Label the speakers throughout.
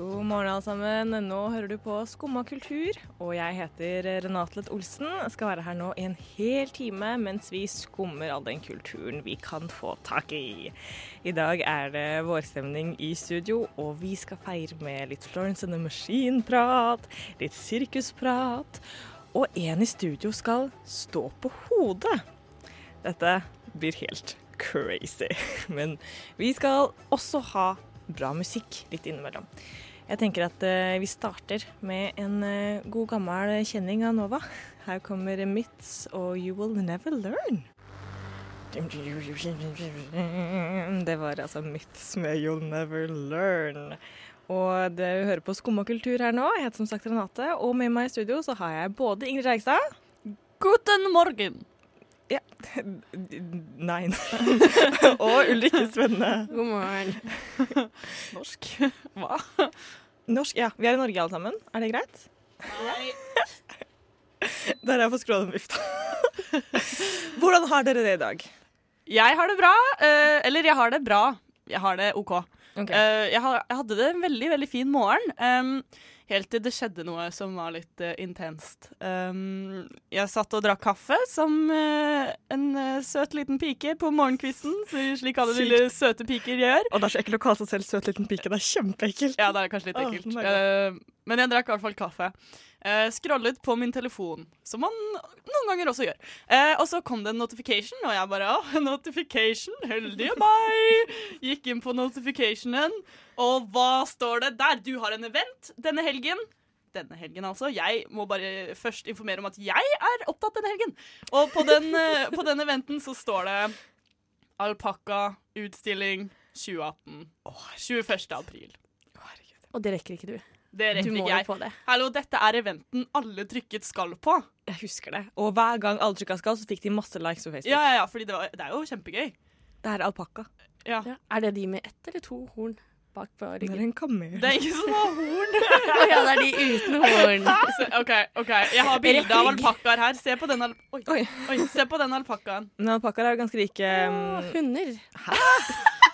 Speaker 1: God morgen, alle sammen. Nå hører du på Skumma kultur, og jeg heter Renate Lett Olsen. Jeg skal være her nå i en hel time mens vi skummer all den kulturen vi kan få tak i. I dag er det vårstemning i studio, og vi skal feire med litt Florence and the Machine-prat, litt sirkusprat, og en i studio skal stå på hodet. Dette blir helt crazy. Men vi skal også ha bra musikk litt innimellom. Jeg tenker at eh, vi starter med en eh, god gammel kjenning av Nova. Her kommer Myths og You Will Never Learn. Det var altså Myths med You'll Never Learn. Og det vi hører på Skumma kultur her nå. Jeg heter som sagt Renate, og med meg i studio så har jeg både Ingrid Reigstad
Speaker 2: Guten morgen.
Speaker 1: ja. Nei. og Ulrikke Svenne.
Speaker 2: God morgen. Norsk. Hva?
Speaker 1: Norsk, ja. Vi er i Norge alle sammen. Er det greit?
Speaker 2: Nei.
Speaker 1: Der har jeg fått skråla den vifta. Hvordan har dere det i dag?
Speaker 2: Jeg har det bra. eh, eller jeg har det bra. Jeg har det OK. Eh, jeg, har, jeg hadde det en veldig, veldig fin morgen. em, helt til det skjedde noe som var litt eh, intenst. Em, jeg satt og drakk kaffe som eh, en eh, søt liten pike på morgenkvisten, så- slik alle
Speaker 1: Sykt.
Speaker 2: lille søte piker gjør.
Speaker 1: Og det er så ekkelt å kalle seg selv søt liten pike. Det er kjempeekkelt.
Speaker 2: Ja, det er kanskje litt
Speaker 1: Åh,
Speaker 2: ekkelt.
Speaker 1: my God.
Speaker 2: Eh, men jeg drakk i hvert fall kaffe. Eh, scrollet på min telefon, som man noen ganger også gjør. Eh, og så kom det en notification, og jeg bare Å, notification! Heldige meg! Gikk inn på notificationen, og hva står det der? Du har en event denne helgen. Denne helgen, altså. Jeg må bare først informere om at jeg er opptatt denne helgen. Og på den, eh, på den eventen så står det Alpakka utstilling 2018. 21. april.
Speaker 3: Og det rekker ikke du.
Speaker 2: Det
Speaker 3: Du
Speaker 2: rekker
Speaker 3: må
Speaker 2: ikke
Speaker 3: jo
Speaker 2: jeg.
Speaker 3: på det.
Speaker 2: Hallo, dette er eventen alle trykket skal på.
Speaker 1: Jeg husker det. Og hver gang alle trykka skal, så fikk de masse likes på Facebook.
Speaker 2: Ja, ja, ja, fordi det, var, det er jo kjempegøy.
Speaker 1: Det er alpakka.
Speaker 2: Ja.
Speaker 3: Ja. Er det de med ett eller to horn bak på
Speaker 1: Det er
Speaker 3: ryggen?
Speaker 1: en kamel.
Speaker 2: Det er ikke sånn å, horn.
Speaker 3: Å ja, det er de uten horn.
Speaker 2: Så, OK, ok, jeg har bilde av alpakkaer her. Se på den, al oi,
Speaker 1: Oi.
Speaker 2: oi, se på den alpakkaen.
Speaker 1: Men alpakkaer er jo ganske like
Speaker 3: Å,
Speaker 1: um,
Speaker 3: Hunder.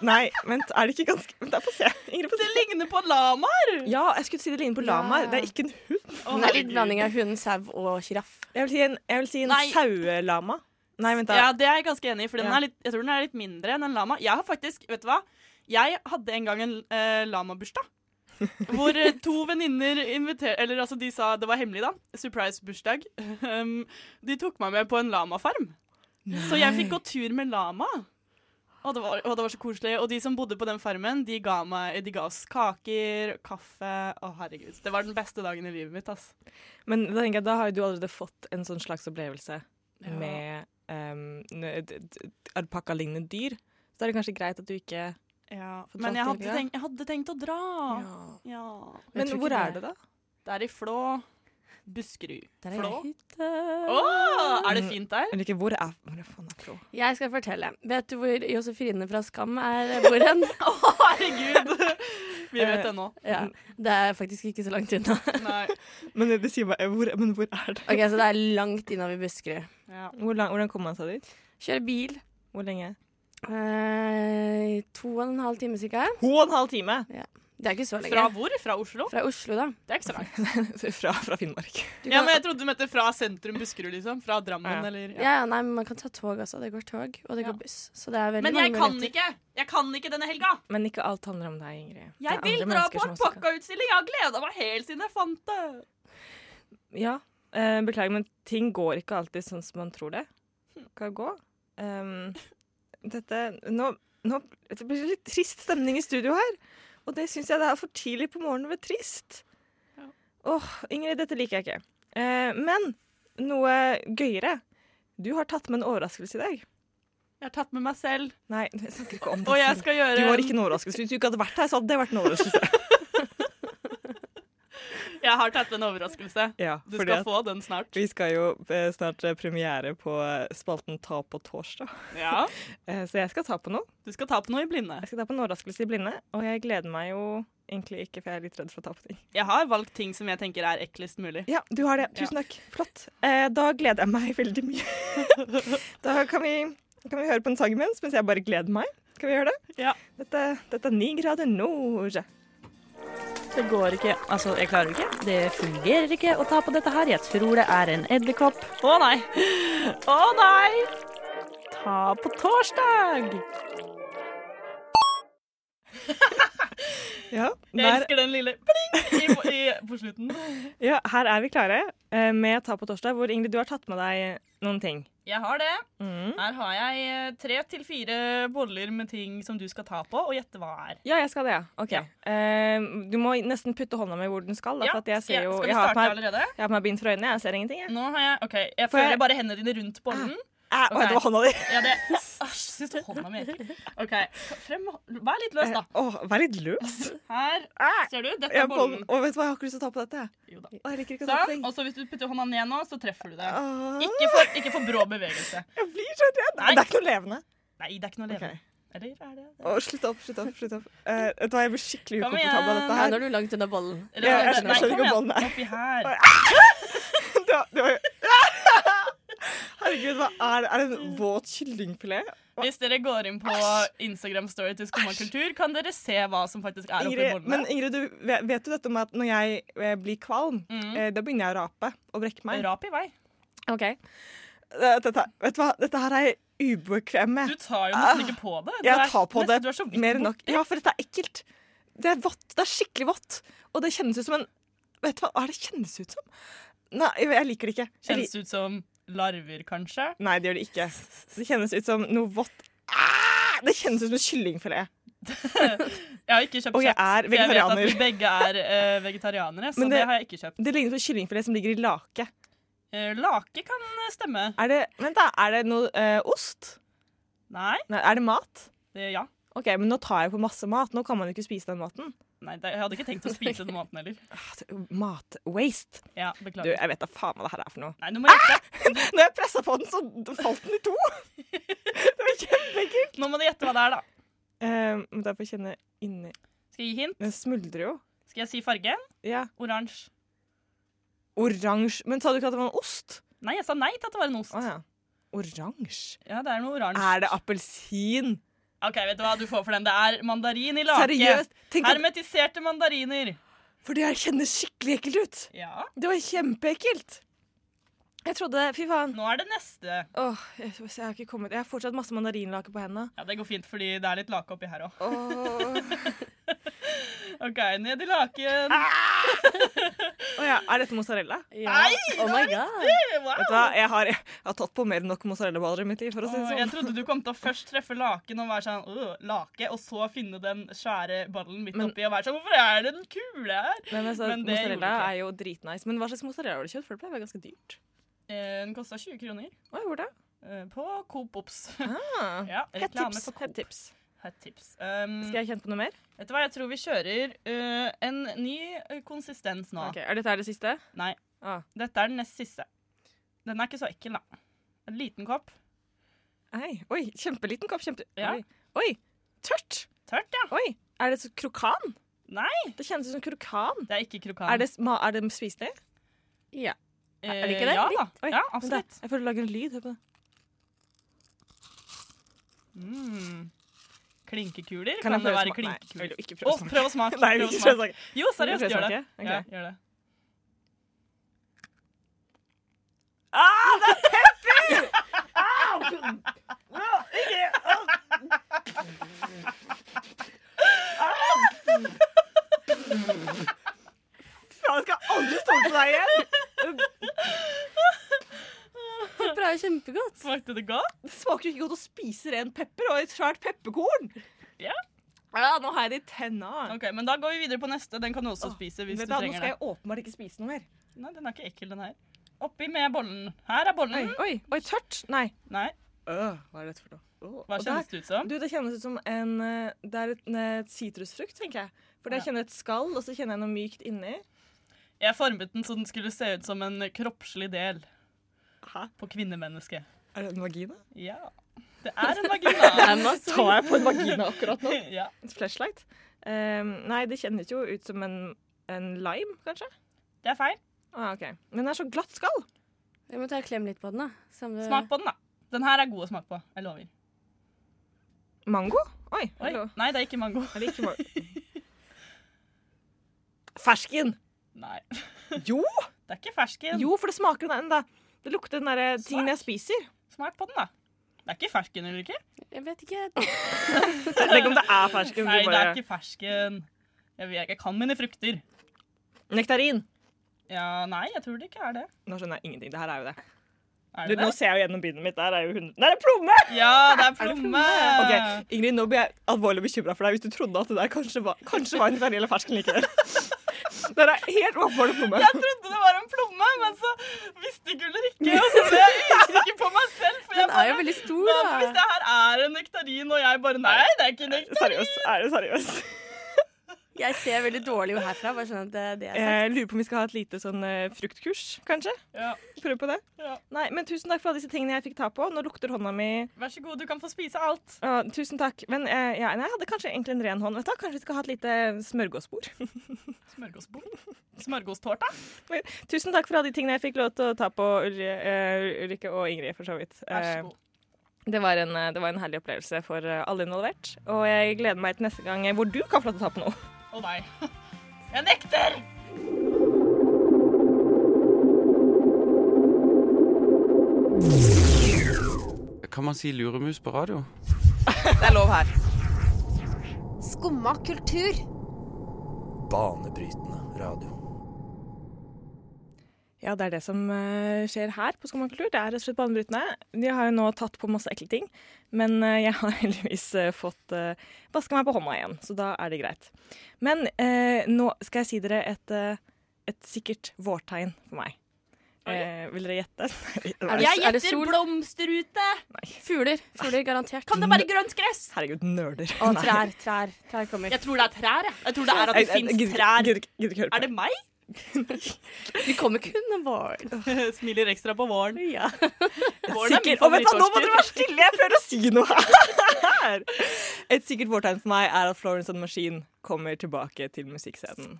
Speaker 1: Nei, vent, er det ikke ganske Vent, da, få se. Ingrid, få
Speaker 2: Det
Speaker 1: se.
Speaker 2: ligner på lamaer!
Speaker 1: Ja, jeg skulle si det ligner på lamaer. Det er ikke en hund.
Speaker 2: Å,
Speaker 3: Det er litt
Speaker 2: herregud.
Speaker 3: blanding av hund, sau og sjiraff.
Speaker 1: Jeg vil si en, jeg vil si en
Speaker 2: Nei.
Speaker 1: sauelama. Nei, vent, da.
Speaker 2: Ja, det er jeg ganske enig i, for den
Speaker 1: Ja.
Speaker 2: er litt, jeg tror den er litt mindre enn en lama. Jeg har faktisk, vet du hva? Jeg hadde en gang en uh, lamabursdag. Hvor eh, to venninner inviterte Eller altså, de sa det var hemmelig, da. Surprise-bursdag. Um, de tok meg med på en lamafarm. Så jeg fikk gå tur med lama. Og det, var, og det var så koselig. Og de som bodde på den farmen, de ga, meg, de ga oss kaker, kaffe Å, herregud. Det var den beste dagen i livet mitt, ass.
Speaker 1: Men da tenker jeg, da har jo du allerede fått en sånn slags opplevelse med um, n- d- d- alpakkalignende dyr. Så da er det kanskje greit at du ikke
Speaker 2: Ja.
Speaker 1: Fortalte
Speaker 2: Men jeg
Speaker 1: dere
Speaker 2: hadde,
Speaker 1: det?
Speaker 2: tenkt, jeg hadde tenkt å dra. ja.
Speaker 1: Men hvor er det, da?
Speaker 2: Det er i Flå. Buskerud.
Speaker 3: Der er
Speaker 2: Flå?
Speaker 3: jeg.
Speaker 2: Å, er det fint der?
Speaker 1: Eller ikke, hvor er Hvor er faen er Flå?
Speaker 3: Jeg skal fortelle. Vet du hvor Josefine fra Skam er bor hen?
Speaker 2: Å, herregud! Vi vet det nå.
Speaker 3: Ja, det er faktisk ikke så langt unna.
Speaker 2: Nei.
Speaker 1: Men det sier meg, hvor, men hvor er det?
Speaker 3: Ok, Så det er langt innover Buskerud.
Speaker 2: Ja.
Speaker 1: Hvor lang, hvordan kom man seg dit?
Speaker 3: Kjøre bil.
Speaker 1: Hvor lenge?
Speaker 3: Eh, to og en halv time cirka.
Speaker 1: To og en halv time
Speaker 3: Det er ikke så
Speaker 2: Fra
Speaker 3: lenge.
Speaker 2: hvor? Fra Oslo?
Speaker 3: Fra Oslo, da.
Speaker 2: Det er ikke så langt.
Speaker 1: fra, fra Finnmark.
Speaker 3: Du
Speaker 2: Ja,
Speaker 3: kan-
Speaker 2: men jeg trodde du mente fra sentrum Buskerud, liksom. Fra Drammen,
Speaker 1: Ja.
Speaker 2: eller ja.
Speaker 3: Ja, ja, nei, men man kan ta tog også. Det går tog, og det
Speaker 2: Ja.
Speaker 3: går buss. Så det er veldig
Speaker 2: Men
Speaker 3: mange
Speaker 2: jeg kan
Speaker 3: muligheter.
Speaker 2: ikke! Jeg kan ikke denne helga!
Speaker 1: Men ikke alt handler om deg, Ingrid. Det
Speaker 2: Jeg
Speaker 1: er
Speaker 2: vil
Speaker 1: andre
Speaker 2: dra
Speaker 1: mennesker
Speaker 2: på
Speaker 1: som også kan-
Speaker 2: alpakkautstilling! Jeg har gleda meg helt siden jeg fant det!
Speaker 1: Ja, eh, beklager, men ting går ikke alltid sånn som man tror det skal gå. Um, dette nå, nå det blir det litt trist stemning i studio her. Og det syns jeg det er for tidlig på morgenen å være trist.
Speaker 2: Ja.
Speaker 1: Åh, Ingrid, dette liker jeg ikke. Eh, men noe gøyere. Du har tatt med en overraskelse i dag.
Speaker 2: Jeg har tatt med meg selv,
Speaker 1: Nei, jeg snakker ikke om det.
Speaker 2: og jeg skal gjøre
Speaker 1: Du har ikke en overraskelse. Hvis du ikke hadde vært her, så hadde det vært en overraskelse.
Speaker 2: Jeg har tatt med en overraskelse.
Speaker 1: Ja,
Speaker 2: Du
Speaker 1: fordi
Speaker 2: skal
Speaker 1: at
Speaker 2: få den snart.
Speaker 1: Vi skal jo eh, snart eh, premiere på eh, spalten Ta på torsdag.
Speaker 2: Ja.
Speaker 1: Eh, Så jeg skal ta på noe.
Speaker 2: Du skal ta på noe i blinde.
Speaker 1: Jeg skal ta på en overraskelse i blinde, og jeg gleder meg jo egentlig ikke, for jeg er litt redd for å ta på ting.
Speaker 2: Jeg har valgt ting som jeg tenker er eklest mulig.
Speaker 1: Ja, du har det. Tusen takk. Flott. Eh, da gleder jeg meg veldig mye. da kan vi, kan vi høre på en sang imens, mens jeg bare gleder meg. Kan vi gjøre det?
Speaker 2: Ja.
Speaker 1: Dette, dette er 9 grader nord.
Speaker 4: Det går ikke. Altså, jeg klarer ikke. Det fungerer ikke å ta på dette her. Jeg tror det er en edderkopp. Å nei. Å nei. Ta på torsdag.
Speaker 1: Ja,
Speaker 2: Jeg
Speaker 1: der,
Speaker 2: elsker den lille pling i, i, på slutten.
Speaker 1: ja, her er vi klare eh, med Ta på torsdag, hvor Ingrid, du har tatt med deg noen ting.
Speaker 2: Jeg har det.
Speaker 1: Mm.
Speaker 2: Her har jeg eh, tre til fire boller med ting som du skal ta på og gjette hva er.
Speaker 1: Ja, jeg skal det, ja. Ok.
Speaker 2: Ja.
Speaker 1: Eh, du må nesten putte hånda mi hvor den skal, da,
Speaker 2: Ja,
Speaker 1: for at jeg ser jo
Speaker 2: skal vi
Speaker 1: jeg har,
Speaker 2: starte
Speaker 1: på meg,
Speaker 2: allerede? Mm.
Speaker 1: jeg har på meg bind for øynene, jeg ser ingenting, jeg.
Speaker 2: Nå har jeg OK, jeg
Speaker 1: Får jeg-
Speaker 2: føler bare hendene dine rundt bollen.
Speaker 4: Ah.
Speaker 1: Eh, oi,
Speaker 2: Ok.
Speaker 1: det var hånda di.
Speaker 2: Ja, det Æsj, syns du hånda mi er ekkel? OK, frem Vær litt
Speaker 4: Eh.
Speaker 2: løs, da.
Speaker 1: Åh, vær litt løs.
Speaker 2: Her.
Speaker 4: Ah.
Speaker 2: Ser du? Dette
Speaker 1: Jeg,
Speaker 2: er bollen.
Speaker 1: og vet du hva, jeg har ikke lyst til å ta på dette.
Speaker 2: Jo da.
Speaker 1: Åh, Jeg liker ikke Ah. å ta på
Speaker 2: Sånn.
Speaker 1: ting.
Speaker 2: Og så hvis du putter hånda ned nå, så treffer du det.
Speaker 1: Åh,
Speaker 2: Ikke for, ikke for brå bevegelse.
Speaker 1: jeg blir så redd.
Speaker 2: Nei.
Speaker 1: Det er ikke noe levende.
Speaker 2: Nei, det er ikke noe levende.
Speaker 1: Ok.
Speaker 2: Eller er det det?
Speaker 1: Åh, slutt opp, slutt opp. slutt opp. Eh, vet du hva, Jeg blir skikkelig
Speaker 2: Kom igjen.
Speaker 1: ukomfortabel av dette
Speaker 3: Ja, nå
Speaker 1: her.
Speaker 3: er du langt unna bollen.
Speaker 2: Eller
Speaker 1: jeg
Speaker 2: er det-
Speaker 3: skjønner-
Speaker 2: nei,
Speaker 3: skjønner
Speaker 2: kom
Speaker 1: ikke
Speaker 2: igjen.
Speaker 1: bollen her.
Speaker 2: Oppi her.
Speaker 1: Det var- det var- Herregud, hva er det? Er det en våt kyllingfilet?
Speaker 2: Hvis dere går inn på Instagram-story til Skumma kultur, kan dere se hva som faktisk er oppi
Speaker 1: Ingrid, men
Speaker 2: bollene.
Speaker 1: Ingrid, du, vet vet du dette med at når jeg eh, blir kvalm,
Speaker 2: Mm.
Speaker 1: eh, da begynner jeg å rape og brekke meg?
Speaker 2: Rap i vei.
Speaker 1: Ok. Eh, Dette, vet du hva? Dette her er jeg ubekvem
Speaker 2: Du
Speaker 1: med.
Speaker 2: tar jo nesten ikke på det. Du
Speaker 1: Ah. Jeg
Speaker 2: er
Speaker 1: tar på
Speaker 2: nesten-
Speaker 1: det
Speaker 2: du er så vidt
Speaker 1: mer enn
Speaker 2: bort-
Speaker 1: nok. Ja, for dette er ekkelt. Det er vått. Det er skikkelig vått. Og det kjennes ut som en Vet du hva Hva er det kjennes ut som? Nei, jeg liker det ikke. Jeg
Speaker 2: Kjennes ut som larver, kanskje.
Speaker 1: li- Nei, det gjør det ikke. Det kjennes ut som noe vått Ah! Det kjennes ut som en kyllingfilet.
Speaker 2: Jeg har ikke kjøpt
Speaker 1: Og jeg
Speaker 2: kjøtt,
Speaker 1: er
Speaker 2: for jeg vet at
Speaker 1: vegetarianer.
Speaker 2: vi begge er eh, vegetarianere, så
Speaker 1: Men
Speaker 2: det,
Speaker 1: det-
Speaker 2: har jeg ikke kjøpt.
Speaker 1: Det ligner på kyllingfilet som ligger i lake.
Speaker 2: Eh, lake kan stemme.
Speaker 1: Er det, vent da, er det noe eh, ost?
Speaker 2: Nei.
Speaker 1: Nei, er det mat?
Speaker 2: Det, ja.
Speaker 1: OK, men nå tar jeg på masse mat. Nå kan man jo ikke spise den maten.
Speaker 2: Nei, det, jeg hadde ikke tenkt å spise den maten heller.
Speaker 1: Ah, det- Mat-waste.
Speaker 2: Ja,
Speaker 1: Du,
Speaker 2: beklager.
Speaker 1: jeg vet da faen hva det her er for noe.
Speaker 2: Nei, nå må, jeg gjette.
Speaker 1: Når jeg pressa på den, så falt den i to. Det var kjempeekkelt.
Speaker 2: nå må du gjette hva det er, da.
Speaker 1: Uh, må jeg få kjenne inni
Speaker 2: Skal jeg gi hint?
Speaker 1: Den smuldrer jo.
Speaker 2: Skal jeg si fargen?
Speaker 1: Ja.
Speaker 2: Oransje.
Speaker 1: Oransje. Men sa du ikke at det var en ost?
Speaker 2: Nei, jeg sa nei til at det var en ost.
Speaker 1: Å ja. Oransje?
Speaker 2: Ja, det er noe oransje.
Speaker 1: Er det appelsin?
Speaker 2: Ok, vet du hva du får for den? Det er mandarin i lake.
Speaker 1: Seriøst? Tenk at,
Speaker 2: Hermetiserte mandariner.
Speaker 1: for det her kjennes skikkelig ekkelt ut.
Speaker 2: Ja.
Speaker 1: Det var kjempeekkelt. Jeg trodde Fy faen.
Speaker 2: Nå er det neste.
Speaker 1: Åh, jeg, jeg har ikke kommet Jeg har fortsatt masse mandarinlake på hendene.
Speaker 2: Ja, Det går fint, fordi det er litt lake oppi her òg.
Speaker 1: Åh.
Speaker 2: OK, ned i laken.
Speaker 1: Ah! Å ja. Er dette mozzarella?
Speaker 3: Ja. Oh my god.
Speaker 2: Wow.
Speaker 1: Vet du hva, jeg har, jeg har tatt på mer enn nok mozzarellaballer i mitt liv. for å si
Speaker 2: Åh,
Speaker 1: det
Speaker 2: Jeg
Speaker 1: sånn.
Speaker 2: trodde du kom til å først treffe laken og være sånn øh, lake, og så finne den svære ballen midt
Speaker 1: Men-
Speaker 2: oppi og være sånn Hvorfor er det en kule her?
Speaker 1: Nei, men så,
Speaker 2: Men det gjorde
Speaker 1: mozzarella
Speaker 2: ikke jeg.
Speaker 1: er jo dritnice. Men hva slags mozzarella har du kjøpt? For det pleier å være ganske dyrt.
Speaker 2: Eh, Den kosta 20 kroner
Speaker 1: Å, jeg gjorde det?
Speaker 2: eh, på Coop Ops.
Speaker 1: Ah.
Speaker 2: ja,
Speaker 1: Hett
Speaker 2: reklame
Speaker 1: tips,
Speaker 2: for
Speaker 1: hett
Speaker 2: Coop.
Speaker 1: tips.
Speaker 2: Hett tips. Um,
Speaker 1: Skal jeg kjenne på noe mer?
Speaker 2: Vet du hva, jeg tror vi kjører eh, en ny eh, konsistens nå.
Speaker 1: Ok, Er dette her det siste?
Speaker 2: Nei.
Speaker 1: Ah.
Speaker 2: Dette er den nest siste. Den er ikke så ekkel, da. En liten kopp.
Speaker 1: Nei. Oi, kjempeliten kopp. Kjempe...
Speaker 2: Ja.
Speaker 1: Oi. Oi, tørt.
Speaker 2: Tørt, ja.
Speaker 1: Oi, er det så krokan?
Speaker 2: Nei,
Speaker 1: Det kjennes ut som krokan.
Speaker 2: det er ikke krokan.
Speaker 1: Er det, sma- er det spiselig?
Speaker 3: Ja.
Speaker 2: Eh,
Speaker 3: er det ikke det?
Speaker 2: Ja, da.
Speaker 3: Litt?
Speaker 1: Oi,
Speaker 2: ja
Speaker 1: vent da.
Speaker 2: absolutt.
Speaker 1: Jeg føler det lager en lyd. Hør på det.
Speaker 2: Mm. Klinkekuler?
Speaker 1: Kan
Speaker 2: Kan,
Speaker 1: jeg
Speaker 2: det
Speaker 1: prøve
Speaker 2: være
Speaker 1: smak- Nei, jeg
Speaker 2: klinkekuler?
Speaker 1: vil jo ikke
Speaker 2: Å,
Speaker 1: prøve å smake.
Speaker 2: prøv å smake.
Speaker 1: Nei,
Speaker 2: prøv å
Speaker 1: ikke
Speaker 2: smake.
Speaker 1: prøv å smake.
Speaker 2: Jo, seriøst,
Speaker 1: Prøv å
Speaker 2: gjør det.
Speaker 1: smake. Ok.
Speaker 2: Ja, gjør det.
Speaker 1: Ah, Ah. Faen, jeg skal aldri stole på deg igjen!
Speaker 3: Det er bra, kjempegodt.
Speaker 2: Smakte det godt?
Speaker 1: Det smaker jo ikke godt å spise ren pepper og et svært pepperkorn.
Speaker 2: Ja.
Speaker 1: Ja, nå har jeg det i tenna.
Speaker 2: Ok, men Da går vi videre på neste. Den kan du også
Speaker 1: Åh,
Speaker 2: spise hvis
Speaker 1: Vet du
Speaker 2: du
Speaker 1: hva, Nå
Speaker 2: trenger
Speaker 1: skal
Speaker 2: det.
Speaker 1: jeg åpenbart ikke spise noe mer.
Speaker 2: Nei, Den er ikke ekkel, den her. Oppi med bollen. Her er bollen.
Speaker 1: oi, oi, tørt? Nei.
Speaker 2: Nei,
Speaker 1: hva er dette for noe?
Speaker 2: Hva kjennes det ut som?
Speaker 1: Du, Det kjennes ut som en eh, Det er et- en eh, sitrusfrukt, tenker jeg. For jeg
Speaker 2: Ja.
Speaker 1: kjenner et skall, og så kjenner jeg noe mykt inni.
Speaker 2: Jeg formet den så den skulle se ut som en kroppslig del
Speaker 4: Hæ?
Speaker 2: på kvinnemennesket.
Speaker 1: Er det en vagina?
Speaker 2: Ja. Det er en vagina.
Speaker 4: Tar jeg på en vagina akkurat nå?
Speaker 2: ja.
Speaker 1: Flashlight? Ehm, nei, det kjennes jo ut som en, en lime, kanskje?
Speaker 2: Det er feil.
Speaker 1: Ah, ok. Men den er så glatt skall.
Speaker 3: Jeg må ta og klemme litt på den, da. Samme
Speaker 2: Smak på den, da. Den her er god å smake på. Jeg lover.
Speaker 1: Mango? Oi,
Speaker 2: Oi.
Speaker 1: hallo.
Speaker 2: Nei, det er ikke mango.
Speaker 1: Er det ikke mango? Fersken!
Speaker 2: Nei.
Speaker 1: Jo!
Speaker 2: Det er ikke fersken.
Speaker 1: Jo, for det smaker den enda. Det lukter den der tingen jeg spiser.
Speaker 2: Smak på den, da. Det er ikke fersken, eller ikke?
Speaker 3: Jeg vet ikke.
Speaker 1: Tenk om det er fersken.
Speaker 2: Nei,
Speaker 1: du
Speaker 2: det er
Speaker 1: bare-
Speaker 2: ikke fersken. Jeg, vet, jeg kan mine frukter.
Speaker 1: Nektarin.
Speaker 2: Ja, nei, jeg tror det ikke er det.
Speaker 1: Nå skjønner jeg ingenting. Det her er jo det.
Speaker 2: Er
Speaker 1: Du,
Speaker 2: det
Speaker 1: nå
Speaker 2: det?
Speaker 1: ser jeg jo gjennom bindet mitt. Der er jo hund... Der er plomme!
Speaker 2: Ja, det er plomme!
Speaker 1: Ok, Ingrid, nå blir jeg alvorlig bekymra for deg hvis du trodde at det der kanskje var, kanskje var en ferdig eller fersken likevel. Der er helt åpenbart plomme.
Speaker 2: Jeg trodde det var en plomme, men så visste Guller ikke. Og så ble jeg usikker på meg selv. For jeg
Speaker 3: Den er
Speaker 2: bare,
Speaker 3: jo veldig stor,
Speaker 2: hva hvis det
Speaker 3: da.
Speaker 2: her er en nektarin, og jeg bare Nei, det er ikke nektarin.
Speaker 1: Seriøst. Er du seriøs?
Speaker 3: Jeg ser veldig dårlig jo herfra. Bare sånn at det, det er sant.
Speaker 1: Jeg lurer på om vi skal ha et lite sånn eh, fruktkurs, kanskje?
Speaker 2: Ja,
Speaker 1: Prøve på det?
Speaker 2: Ja.
Speaker 1: Nei, men tusen takk for alle disse tingene jeg fikk ta på. Nå lukter hånda mi
Speaker 2: vær så god, du kan få spise alt.
Speaker 1: Å, Tusen takk. Men eh, ja, nei, jeg hadde kanskje egentlig en ren hånd. Vet du, hva? kanskje vi skal ha et lite smørgåsbord?
Speaker 2: Smørgåsbord. Smørgåstårta.
Speaker 1: Tusen takk for alle de tingene jeg fikk lov til å ta på Ulri- eh, Ulrikke og Ingrid, for så vidt.
Speaker 2: Vær
Speaker 1: Eh,
Speaker 2: så god.
Speaker 1: Det var, en, eh, det var en herlig opplevelse for eh, alle involvert. Og jeg gleder meg til neste gang eh, hvor du kan få lov til å ta på noe.
Speaker 2: Å nei. Jeg nekter!
Speaker 5: Kan man si luremus på radio?
Speaker 6: Skumma kultur.
Speaker 7: Banebrytende radio.
Speaker 1: Ja, det er det som eh, skjer her på Skomakultur. Det er rett og slett banebrytende. De har jo nå tatt på masse ekle ting, men eh, jeg har heldigvis eh, fått uh, vaska meg på hånda igjen, så da er det greit. Men eh, nå skal jeg si dere et, eh, et sikkert vårtegn for meg. Eh, vil dere gjette?
Speaker 3: Er det- er det sol?
Speaker 2: blomsterute.
Speaker 3: Fugler. Fugler, garantert.
Speaker 2: Kan det være grønt gress?
Speaker 1: Herregud, nerder.
Speaker 3: Og trær. Trær trær kommer.
Speaker 2: Jeg tror det er trær. Jeg, jeg tror det er at
Speaker 1: Nei.
Speaker 2: det fins
Speaker 1: Gidder-
Speaker 2: trær.
Speaker 1: gidder ikke- gidder ikke høre på.
Speaker 2: Er det meg?
Speaker 3: De kommer kun om våren.
Speaker 2: Smiler ekstra på våren.
Speaker 3: Ja.
Speaker 2: Våren er min
Speaker 1: sikkert, og vet du, hva, Nå må
Speaker 2: favorittårstid.
Speaker 1: dere være stille! Jeg prøver å si noe her! Et sikkert vårtegn for meg er at Florence and the Machine kommer tilbake til musikkscenen.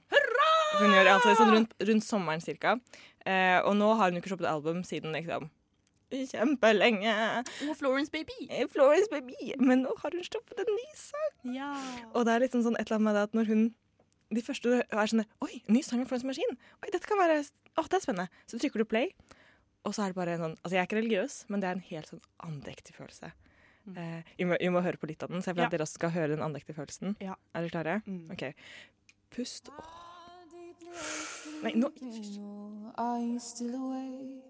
Speaker 1: Hun gjør det altså sånn rundt, rundt sommeren cirka. Eh, og nå har hun jo ikke sluppet album siden liksom kjempelenge.
Speaker 2: Oh, Florence Baby.
Speaker 1: Eh, Florence Baby. Men nå har hun sluppet en ny sang. Og det er liksom sånn et eller annet med det at når hun De første er sånn Oi, ny sang av Florence and the Machine. Oi, dette kan være Å, det er spennende. Så trykker du play, og så er det bare en sånn Altså, jeg er ikke religiøs, men det er en helt sånn andektig følelse. Eh, vi, må, vi må høre på litt av den, så jeg vil
Speaker 2: Mm. Ja.
Speaker 1: at dere også skal høre den andektige følelsen.
Speaker 2: Ja.
Speaker 1: Er dere klare?
Speaker 2: Mm.
Speaker 1: OK. Pust Åh. Nei, nå
Speaker 8: Are you still awake?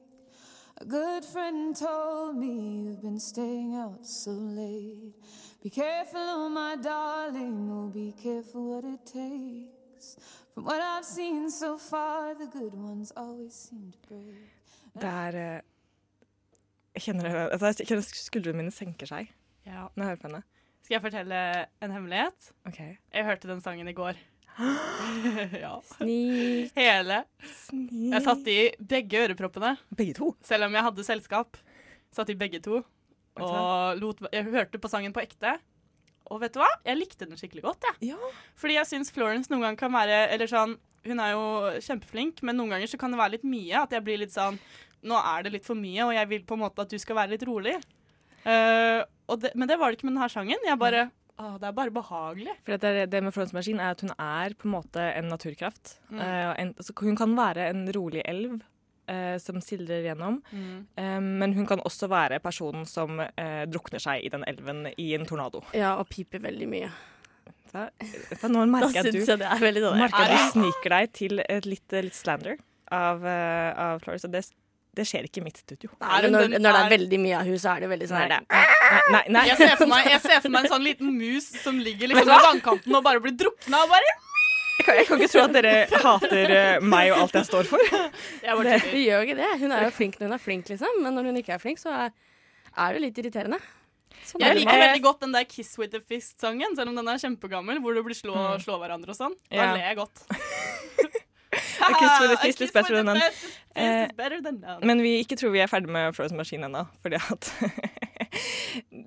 Speaker 8: A good friend told me you've been staying out so late. Be careful, oh my darling, oh be careful what it takes. From what I've seen so far, the good ones always seem to break.
Speaker 1: Det er eh, Jeg kjenner, det- altså, jeg kjenner skuldrene mine senker seg
Speaker 2: Ja.
Speaker 1: når jeg hører på henne.
Speaker 2: Skal jeg fortelle en hemmelighet?
Speaker 1: OK.
Speaker 2: Jeg hørte den sangen i går. ja.
Speaker 3: Snik.
Speaker 2: Hele.
Speaker 1: Sni.
Speaker 2: Jeg satt i begge øreproppene,
Speaker 1: Begge to.
Speaker 2: selv om jeg hadde selskap. Satt i begge to. Og lot, jeg hørte på sangen på ekte. Og vet du hva? Jeg likte den skikkelig godt. jeg.
Speaker 1: Ja.
Speaker 2: Fordi jeg syns Florence noen gang kan være Eller sånn, Hun er jo kjempeflink, men noen ganger så kan det være litt mye. At jeg blir litt sånn Nå er det litt for mye, og jeg vil på en måte at du skal være litt rolig. Eh, og det, men det var det ikke med denne sangen. Jeg bare Å, det er bare behagelig.
Speaker 1: For at det, er- det med Florence Maskin er at hun er på en måte en naturkraft. Eh, og en, altså, hun kan være en rolig elv eh, som sildrer gjennom, Eh, men hun kan også være personen som eh, drukner seg i den elven i en tornado.
Speaker 3: Ja, og piper veldig mye.
Speaker 1: Da, da, nå
Speaker 3: Da
Speaker 1: merker jeg at du,
Speaker 3: syns jeg det er veldig dårlig.
Speaker 1: merker jeg at du sniker deg til et litt, litt slander av, eh, av Florence, og det, det skjer ikke i mitt studio.
Speaker 3: Nei, men når, når det er veldig mye av henne, så er det jo veldig sånn her. det-
Speaker 1: Nei, nei,
Speaker 2: Jeg
Speaker 1: nei.
Speaker 2: ser, for meg, jeg ser for meg en sånn liten mus som ligger liksom ved vannkanten og bare blir drukna. Og bare,
Speaker 1: Jeg kan, jeg kan ikke tro at dere hater eh, meg og alt jeg står for.
Speaker 2: jeg bare
Speaker 3: Hun gjør jo ikke det. Hun er jo flink når hun er flink, liksom. Men når hun ikke er flink, så er, er det litt irriterende. Sånn
Speaker 2: Jeg
Speaker 3: er det
Speaker 2: liker
Speaker 3: bare.
Speaker 2: veldig godt den der 'Kiss with a
Speaker 1: Mm.
Speaker 2: Fist'-sangen, selv om den er kjempegammel, hvor det blir slå, slå hverandre og sånn. Da
Speaker 1: Ja.
Speaker 2: ler jeg godt.
Speaker 1: A kiss with a
Speaker 2: A
Speaker 1: fist
Speaker 2: kiss
Speaker 1: is better
Speaker 2: with a
Speaker 1: than none. Eh,
Speaker 2: fist is- fist is better than none.
Speaker 1: Men vi ikke tror vi er ferdig med Frozen Machine ennå, fordi at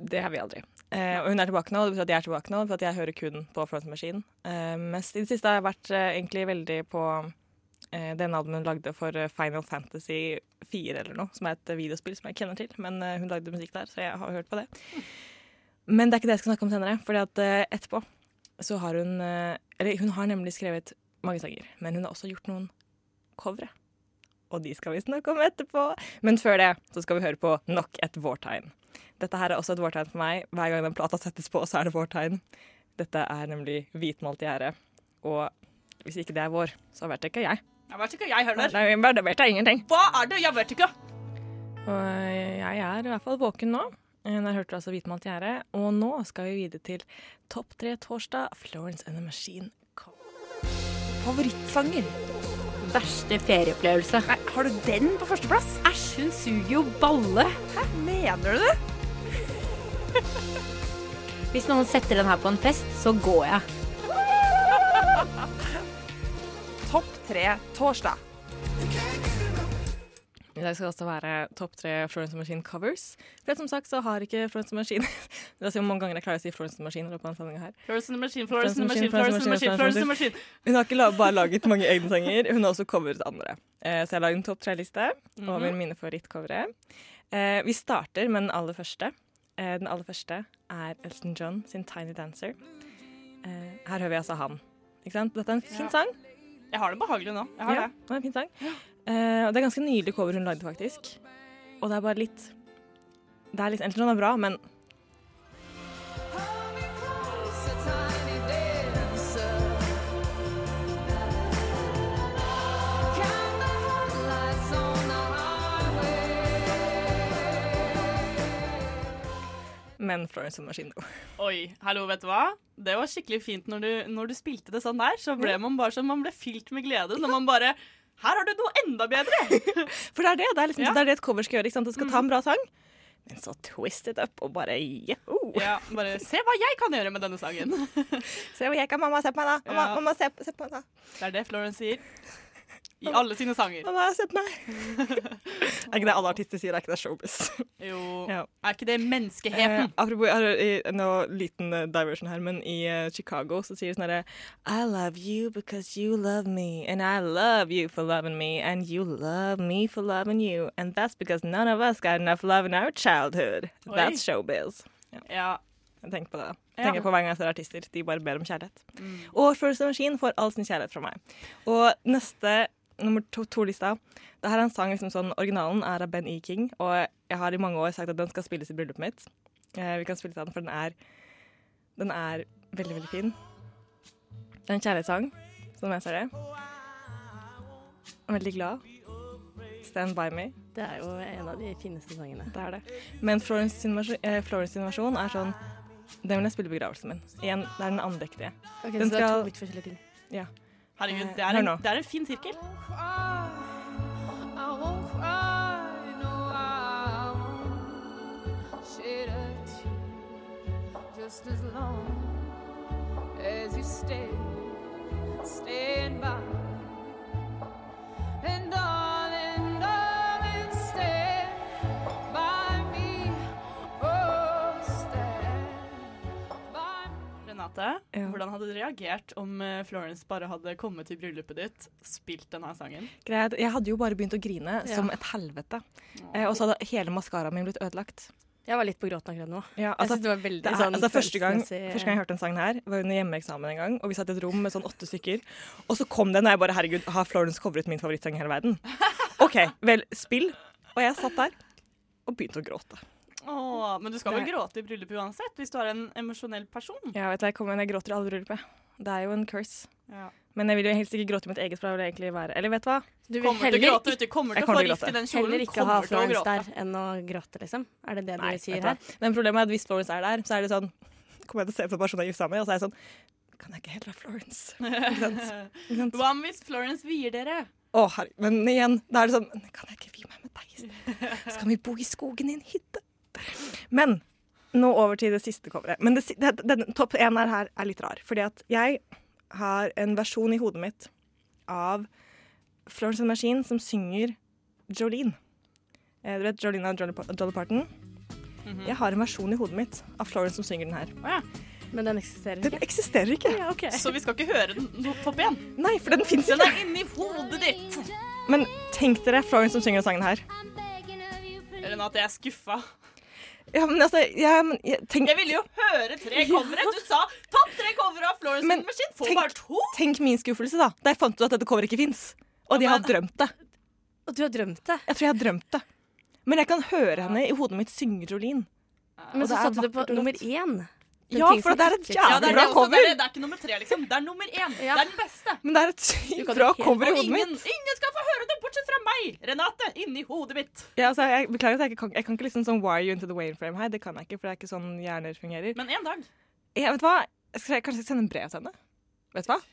Speaker 1: Det er vi aldri. Eh, og hun er tilbake nå, og det betyr at jeg er tilbake nå, for at jeg hører kun på Frozen Machine. Eh, mest i det siste har jeg vært eh, egentlig veldig på eh, den albumen hun lagde for eh, Final Fantasy 4 eller noe, som er et eh, videospill som jeg kjenner til, men eh, hun lagde musikk der, så jeg har hørt på det. Men det er ikke det jeg skal snakke om senere, fordi at eh, etterpå så har hun eh, Eller hun har nemlig skrevet mange sanger, men hun har også gjort noen covere og de skal vi snakke om etterpå. Men før det så skal vi høre på nok et vårtegn. Dette her er også et vårtegn for meg. Hver gang den plata settes på, så er det vårtegn. Dette er nemlig hvitmalt gjerde. Og hvis ikke det er vår, så vet ikke jeg.
Speaker 2: Jeg vet ikke, jeg
Speaker 1: Nei,
Speaker 2: hører.
Speaker 1: men det vet jeg ingenting.
Speaker 2: Hva er det? Jeg vet ikke.
Speaker 1: Og jeg er i hvert fall våken nå. Der hørte du altså hvitmalt gjerde. Og nå skal vi videre til Topp tre torsdag, Florence and the Machine.
Speaker 9: Favorittsanger. Verste ferieopplevelse. Nei, har du den på førsteplass? Æsj, hun suger jo balle. Hæ, mener du det? Hvis noen setter den her på en fest, så går jeg.
Speaker 10: Topp tre torsdag.
Speaker 1: I dag skal det også være topp tre Florence and the Machine covers. For som sagt så har ikke Florence and the Machine Det er så mange ganger jeg klarer å si Florence and the Machine. i løpet av denne sendingen her.
Speaker 2: Florence and the Machine, Florence and the Machine, Florence and the Machine, Florence and the Machine.
Speaker 1: Hun har ikke la- bare laget mange egne sanger, hun har også covret andre. Eh, Så jeg har laget en topp tre-liste over
Speaker 2: Mhm.
Speaker 1: mine favorittcovere. Eh, Vi starter med den aller første. Eh, Den aller første er Elton John sin 'Tiny Dancer'. Eh, Her hører vi altså han. Ikke sant? Dette er en fin
Speaker 2: Ja.
Speaker 1: sang.
Speaker 2: Jeg har det behagelig nå. Jeg har
Speaker 1: ja,
Speaker 2: det.
Speaker 1: det er en fin sang. Eh, og det er ganske nydelig cover hun lagde, faktisk. Og det er bare litt Det er litt Elton John er bra, men Men Florence and the Machine.
Speaker 2: Oi, hallo, vet du hva? Det var skikkelig fint når du, når du spilte det sånn der. Så ble man bare sånn, man ble fylt med glede når man bare Her har du noe enda bedre!
Speaker 1: For det er det. Det er, liksom,
Speaker 2: Ja. Mm.
Speaker 1: det, er det et cover skal gjøre. Ikke sant? Det skal ta en bra sang, men så twist it up og bare Oh, joho!
Speaker 2: Ja, bare se hva jeg kan gjøre med denne sangen.
Speaker 1: Se hva jeg kan, mamma. Se på meg, da. Mamma,
Speaker 2: Ja.
Speaker 1: mamma se, se på meg, da.
Speaker 2: Det er det Florence sier i alle sine sanger.
Speaker 1: Mamma, se på meg. er ikke det alle artister sier? Er ikke det showbiz?
Speaker 2: Jo,
Speaker 1: Ja.
Speaker 2: er ikke det
Speaker 1: Eh,
Speaker 2: menneskeheten?
Speaker 1: apropos, jeg har eh, noe liten eh, diversion her, men i eh, Chicago så sier de sånn herre I love you because you love me, and I love you for loving me, and you love me for loving you, and that's because none of us got enough love in our childhood.
Speaker 2: Oi.
Speaker 1: That's showbiz. Ja.
Speaker 2: Ja.
Speaker 1: Jeg tenker på det.
Speaker 2: Ja.
Speaker 1: Jeg tenker på hver gang jeg ser artister. De bare ber om kjærlighet. Og First Machine får all sin kjærlighet fra meg. Og neste nummer to-lista Det her er en sang liksom sånn Originalen er av Ben E. King, og jeg har i mange år sagt at den skal spilles i bryllupet mitt. Eh, vi kan spille til den, for den er Den er veldig, veldig fin. Det er en kjærlighetssang, som jeg ser det. Jeg er veldig glad. Stand by me.
Speaker 3: Det er jo en av de fineste sangene.
Speaker 1: Det er det. Men Florence sin, vers- eh, Florence sin versjon er sånn Den vil jeg spille i begravelsen min. Igjen, det er den andektige.
Speaker 3: Ok,
Speaker 1: den
Speaker 3: så det er to vidt forskjellige ting.
Speaker 1: Ja.
Speaker 2: Herregud,
Speaker 1: Eh,
Speaker 2: det er,
Speaker 1: hør
Speaker 2: en,
Speaker 1: nå.
Speaker 2: det er en fin sirkel.
Speaker 8: I won't cry, no, I won't shed a tear. Just as long as you stay, stand by. me. And darling, darling, stand by me. Oh, stand by me.
Speaker 2: Renate, hvordan hadde du reagert om eh, Florence bare hadde kommet til bryllupet ditt, spilt denne sangen?
Speaker 1: Greit. Jeg hadde jo bare begynt å grine
Speaker 2: Ja.
Speaker 1: som et helvete. Eh, og så hadde hele maskaraen min blitt ødelagt.
Speaker 3: Jeg var litt på gråten akkurat nå.
Speaker 1: Ja,
Speaker 3: jeg synes det var veldig
Speaker 1: det er-
Speaker 3: sånn
Speaker 1: altså, første, gang,
Speaker 3: følelsesmessig-
Speaker 1: første gang jeg hørte den sangen her, var under hjemmeeksamen en gang. Og vi satt i et rom med sånn åtte stykker. Og så kom den, og jeg bare herregud, har Florence covret min favorittsang i hele verden? OK, vel, spill. Og jeg satt der og begynte å gråte.
Speaker 2: Åh, men du skal vel
Speaker 1: Det-
Speaker 2: gråte i bryllupet uansett, hvis du er en emosjonell person.
Speaker 1: Ja, vet du, jeg, kommer, jeg gråter i alle bryllupet. Det er jo en curse.
Speaker 2: Ja.
Speaker 1: Men jeg vil jo helst ikke gråte i mitt eget, for da vil jeg egentlig være Eller vet du hva?
Speaker 3: Du vil
Speaker 2: Kommer til å
Speaker 3: heller
Speaker 2: gråte, vet du. Kommer til å forgifte den kjolen.
Speaker 3: Heller ikke ha
Speaker 2: kommer til å
Speaker 3: Florence
Speaker 2: gråte.
Speaker 3: der enn å gråte, liksom. Er det det
Speaker 1: Nei,
Speaker 3: du sier
Speaker 1: vet du hva?
Speaker 3: her?
Speaker 1: Men problemet er at hvis Florence er der, så er det sånn Kommer jeg til å se på personen jeg er gifta med, og så er jeg sånn Kan jeg ikke heller ha Florence? Ikke sant? Ikke sant?
Speaker 2: Hva om hvis Florence vier dere?
Speaker 1: Å, herregud. Men igjen, da er det sånn Kan jeg ikke vie meg med deg i sted? Skal vi bo i skogen i en hytte? Men nå over til det siste coveret. Men det, si- det, den topp én her, her er litt rar. Fordi at jeg har en versjon i hodet mitt av Florence and the Machine som synger Jolene. Eh, du vet Jolene av Jolly, Pa- Dolly Parton?
Speaker 2: Mhm.
Speaker 1: Jeg har en versjon i hodet mitt av Florence som synger den her.
Speaker 3: Men den eksisterer
Speaker 1: Den eksisterer ikke.
Speaker 2: Så vi skal ikke høre den no- på topp igjen?
Speaker 1: Nei, for den fins
Speaker 2: Den
Speaker 1: ikke.
Speaker 2: er inni hodet ditt!
Speaker 1: Men tenk dere Florence som synger den sangen her.
Speaker 2: Renate, jeg er skuffa.
Speaker 1: Ja, men altså, jeg, men, jeg, tenk,
Speaker 2: Jeg ville jo høre tre covere! Du sa topp tre covere av Florence
Speaker 1: Men
Speaker 2: and the Machine! Får
Speaker 1: tenk,
Speaker 2: bare to!
Speaker 1: tenk min skuffelse, da. Da jeg fant ut at dette coveret ikke fins. Og de har drømt det.
Speaker 3: Og du har drømt det.
Speaker 1: Jeg tror jeg har drømt det. Men jeg kan høre henne i hodet mitt synge Jolene.
Speaker 3: Men så satte du på nummer én. Den
Speaker 1: Ja,
Speaker 3: ting
Speaker 1: for
Speaker 3: som
Speaker 1: det er et
Speaker 3: ikke
Speaker 2: Ja,
Speaker 1: jævlig
Speaker 2: det, er
Speaker 1: bra
Speaker 2: det, også, det,
Speaker 1: cover.
Speaker 2: er, det er ikke nummer tre, liksom. Det er nummer én. Det er den beste.
Speaker 1: Men det er et sykt bra cover i
Speaker 2: Og
Speaker 1: hodet
Speaker 2: ingen,
Speaker 1: mitt.
Speaker 2: ingen skal få høre det, bortsett fra meg, Renate, inni hodet mitt.
Speaker 1: Ja, altså, jeg Beklager at jeg ikke kan, jeg kan ikke liksom sånn wire you into the wainframe her. Det kan jeg ikke, for det er ikke sånn hjerner fungerer.
Speaker 2: Men en dag.
Speaker 1: Jeg vet hva, jeg skal, kanskje jeg skal sende en brev til henne? Vet du hva?